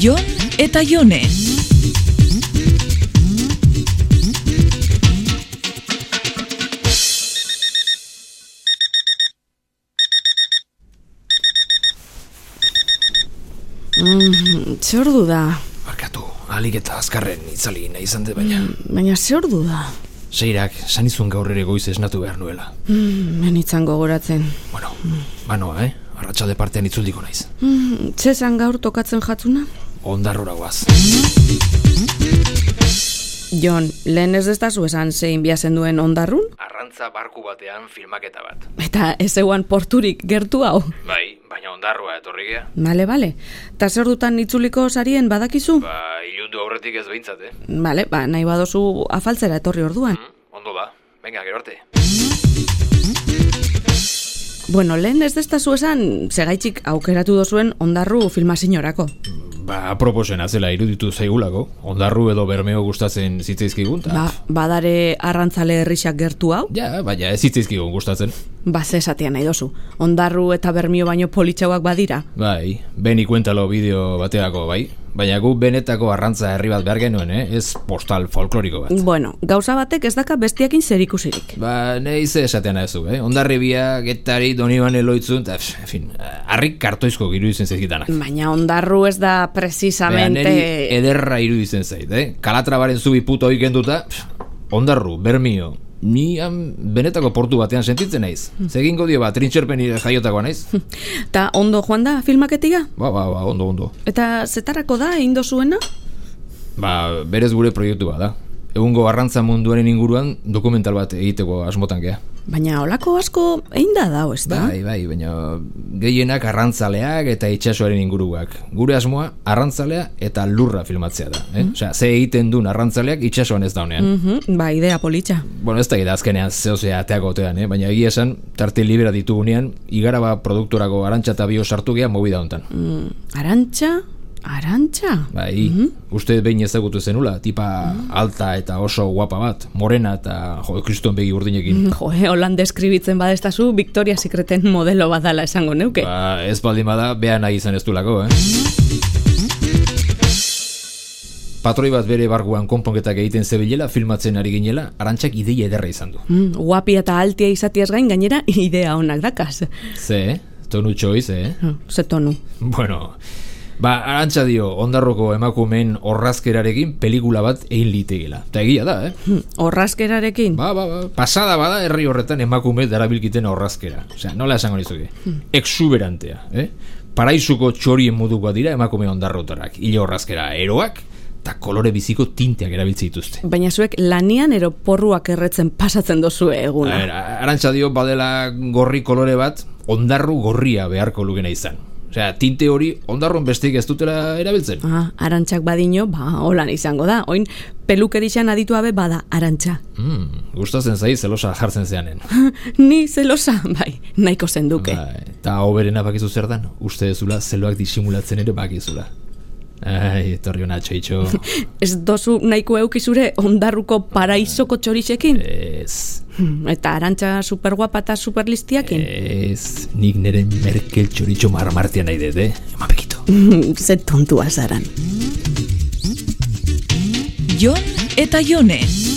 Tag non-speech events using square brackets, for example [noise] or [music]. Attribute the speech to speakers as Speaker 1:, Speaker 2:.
Speaker 1: Jon eta Jone.
Speaker 2: Mm, ze ordu da,
Speaker 3: Barkatu, alik eta azkarren itzali nahi izan dut baina.
Speaker 2: baina ze ordu da.
Speaker 3: Seirak, sanizun gaur ere goiz esnatu behar nuela.
Speaker 2: Mm, menitzan gogoratzen.
Speaker 3: Bueno, banoa, eh? Arratxalde partean itzuldiko naiz.
Speaker 2: Mm, ze zan gaur tokatzen jatzuna?
Speaker 3: Ondarrora guaz.
Speaker 2: Jon, lehen ez destazu esan zein biazen duen ondarrun?
Speaker 3: Arrantza barku batean filmaketa bat.
Speaker 2: Eta ez eguan porturik gertu hau.
Speaker 3: Bai, baina ondarroa etorri gea.
Speaker 2: Bale, bale. Ta zer dutan itzuliko sarien badakizu?
Speaker 3: Ba, ilundu aurretik ez behintzat, eh? Hmm,
Speaker 2: Bale, ba, nahi badozu afaltzera etorri orduan.
Speaker 3: Ondo da, venga, gero arte.
Speaker 2: Bueno, lehen ez destazu esan, segaitxik aukeratu dozuen ondarru filmazinorako.
Speaker 3: Ba, proposena zela iruditu zaigulako. Ondarru edo bermeo gustatzen zitzaizkigun, ta...
Speaker 2: Ba, badare arrantzale herrixak gertu hau?
Speaker 3: Ja, baina ez zitzaizkigun gustatzen.
Speaker 2: Ba, ze esatea nahi dozu. Ondarru eta bermio baino politxauak badira.
Speaker 3: Bai, ben ikuentalo bideo bateako, bai? Baina gu benetako arrantza herri bat behar genuen, eh? Ez postal folkloriko bat.
Speaker 2: Bueno, gauza batek ez daka bestiakin zerikusirik.
Speaker 3: Ba, nahi ze esaten ezu, eh? Ondarribia, getari, doniban eloitzun, eta, pff, en fin, harrik kartoizko giru izen zaizkitanak.
Speaker 2: Baina ondarru ez da precisamente...
Speaker 3: neri ederra iruditzen zait, eh? Kalatrabaren zubi puto oikenduta, ondarru, bermio, ni han benetako portu batean sentitzen naiz. Zegingo dio bat, trintxerpen jaiotakoa naiz?
Speaker 2: Hmm. Ta ondo joan da filmaketia?
Speaker 3: Ba, ba, ba, ondo, ondo.
Speaker 2: Eta zetarako da egin dozuena?
Speaker 3: Ba, berez gure proiektua da. Egungo arrantza munduaren inguruan dokumental bat egiteko asmotan gea.
Speaker 2: Baina olako asko egin da dau, ez da?
Speaker 3: Bai, bai, baina gehienak arrantzaleak eta itsasoaren inguruak. Gure asmoa arrantzalea eta lurra filmatzea da. Eh?
Speaker 2: Mm.
Speaker 3: Osea, ze egiten duen arrantzaleak itsasoan ez daunean.
Speaker 2: Mhm, ba, idea politxa.
Speaker 3: Bueno, ez da gida azkenean zehozea ateako otean, eh? baina egia esan, tarte libera ditugunean, igaraba produktorako arantxa eta bio sartu geha mobida hontan.
Speaker 2: Mm, arantxa, arantxa? [laughs]
Speaker 3: Bai,
Speaker 2: Mhm.
Speaker 3: uste dut behin ezagutu zenula, tipa
Speaker 2: Mm.
Speaker 3: alta eta oso guapa bat, morena eta jo, kriston begi urdinekin.
Speaker 2: Jo, eh, holan deskribitzen badestazu, Victoria Secreten modelo badala esango neuke.
Speaker 3: Ba, ez baldin bada, beha nahi izan ez dulako, eh? Patroi bat bere barguan konponketak egiten zebilela, filmatzen ari ginela, arantxak ideia ederra izan du.
Speaker 2: Mm, guapi eta altia izatiaz gain gainera [laughs] idea honak dakaz.
Speaker 3: Ze, eh? tonu txoiz, eh?
Speaker 2: Mm, Ze tonu.
Speaker 3: Bueno, ba, arantxa dio, ondarroko emakumeen horrazkerarekin pelikula bat egin litegela. Eta egia da, eh?
Speaker 2: Mm, Horrazkerarekin?
Speaker 3: Ba, ba, ba, pasada bada herri horretan emakume darabilkiten horrazkera. Osea, nola esango nizuke? Exuberantea, eh? Paraisuko txorien modukoa dira emakume ondarrotarak. Ile horrazkera eroak eta kolore biziko tinteak erabiltzen dituzte.
Speaker 2: Baina zuek lanian ero porruak erretzen pasatzen dozu eguna.
Speaker 3: Aher, arantxa dio badela gorri kolore bat, ondarru gorria beharko lukena izan. Osea, tinte hori ondarron bestik ez dutela erabiltzen.
Speaker 2: Ah, arantxak badino, ba, holan izango da. Oin, pelukerixan adituabe bada arantxa. [laughs]
Speaker 3: Mm, gustatzen zaiz zelosa jartzen zeanen.
Speaker 2: Ni zelosa, bai, nahiko zenduke.
Speaker 3: Bai, Eta hoberena bakizu zer dan, uste dezula zeloak disimulatzen ere bakizula. Ai, etorri hona txoitxo.
Speaker 2: Ez dozu nahiko eukizure ondarruko paraizoko txorixekin?
Speaker 3: Eh. Ez,
Speaker 2: Hmm, Eta arantxa superguapa eta superlistiakin?
Speaker 3: Eh. ez, nik nire merkel txoritxo marmartia nahi dut, eh? Eman bekito.
Speaker 2: Hmm, Ze tontua zaran.
Speaker 1: Jon eta Jone.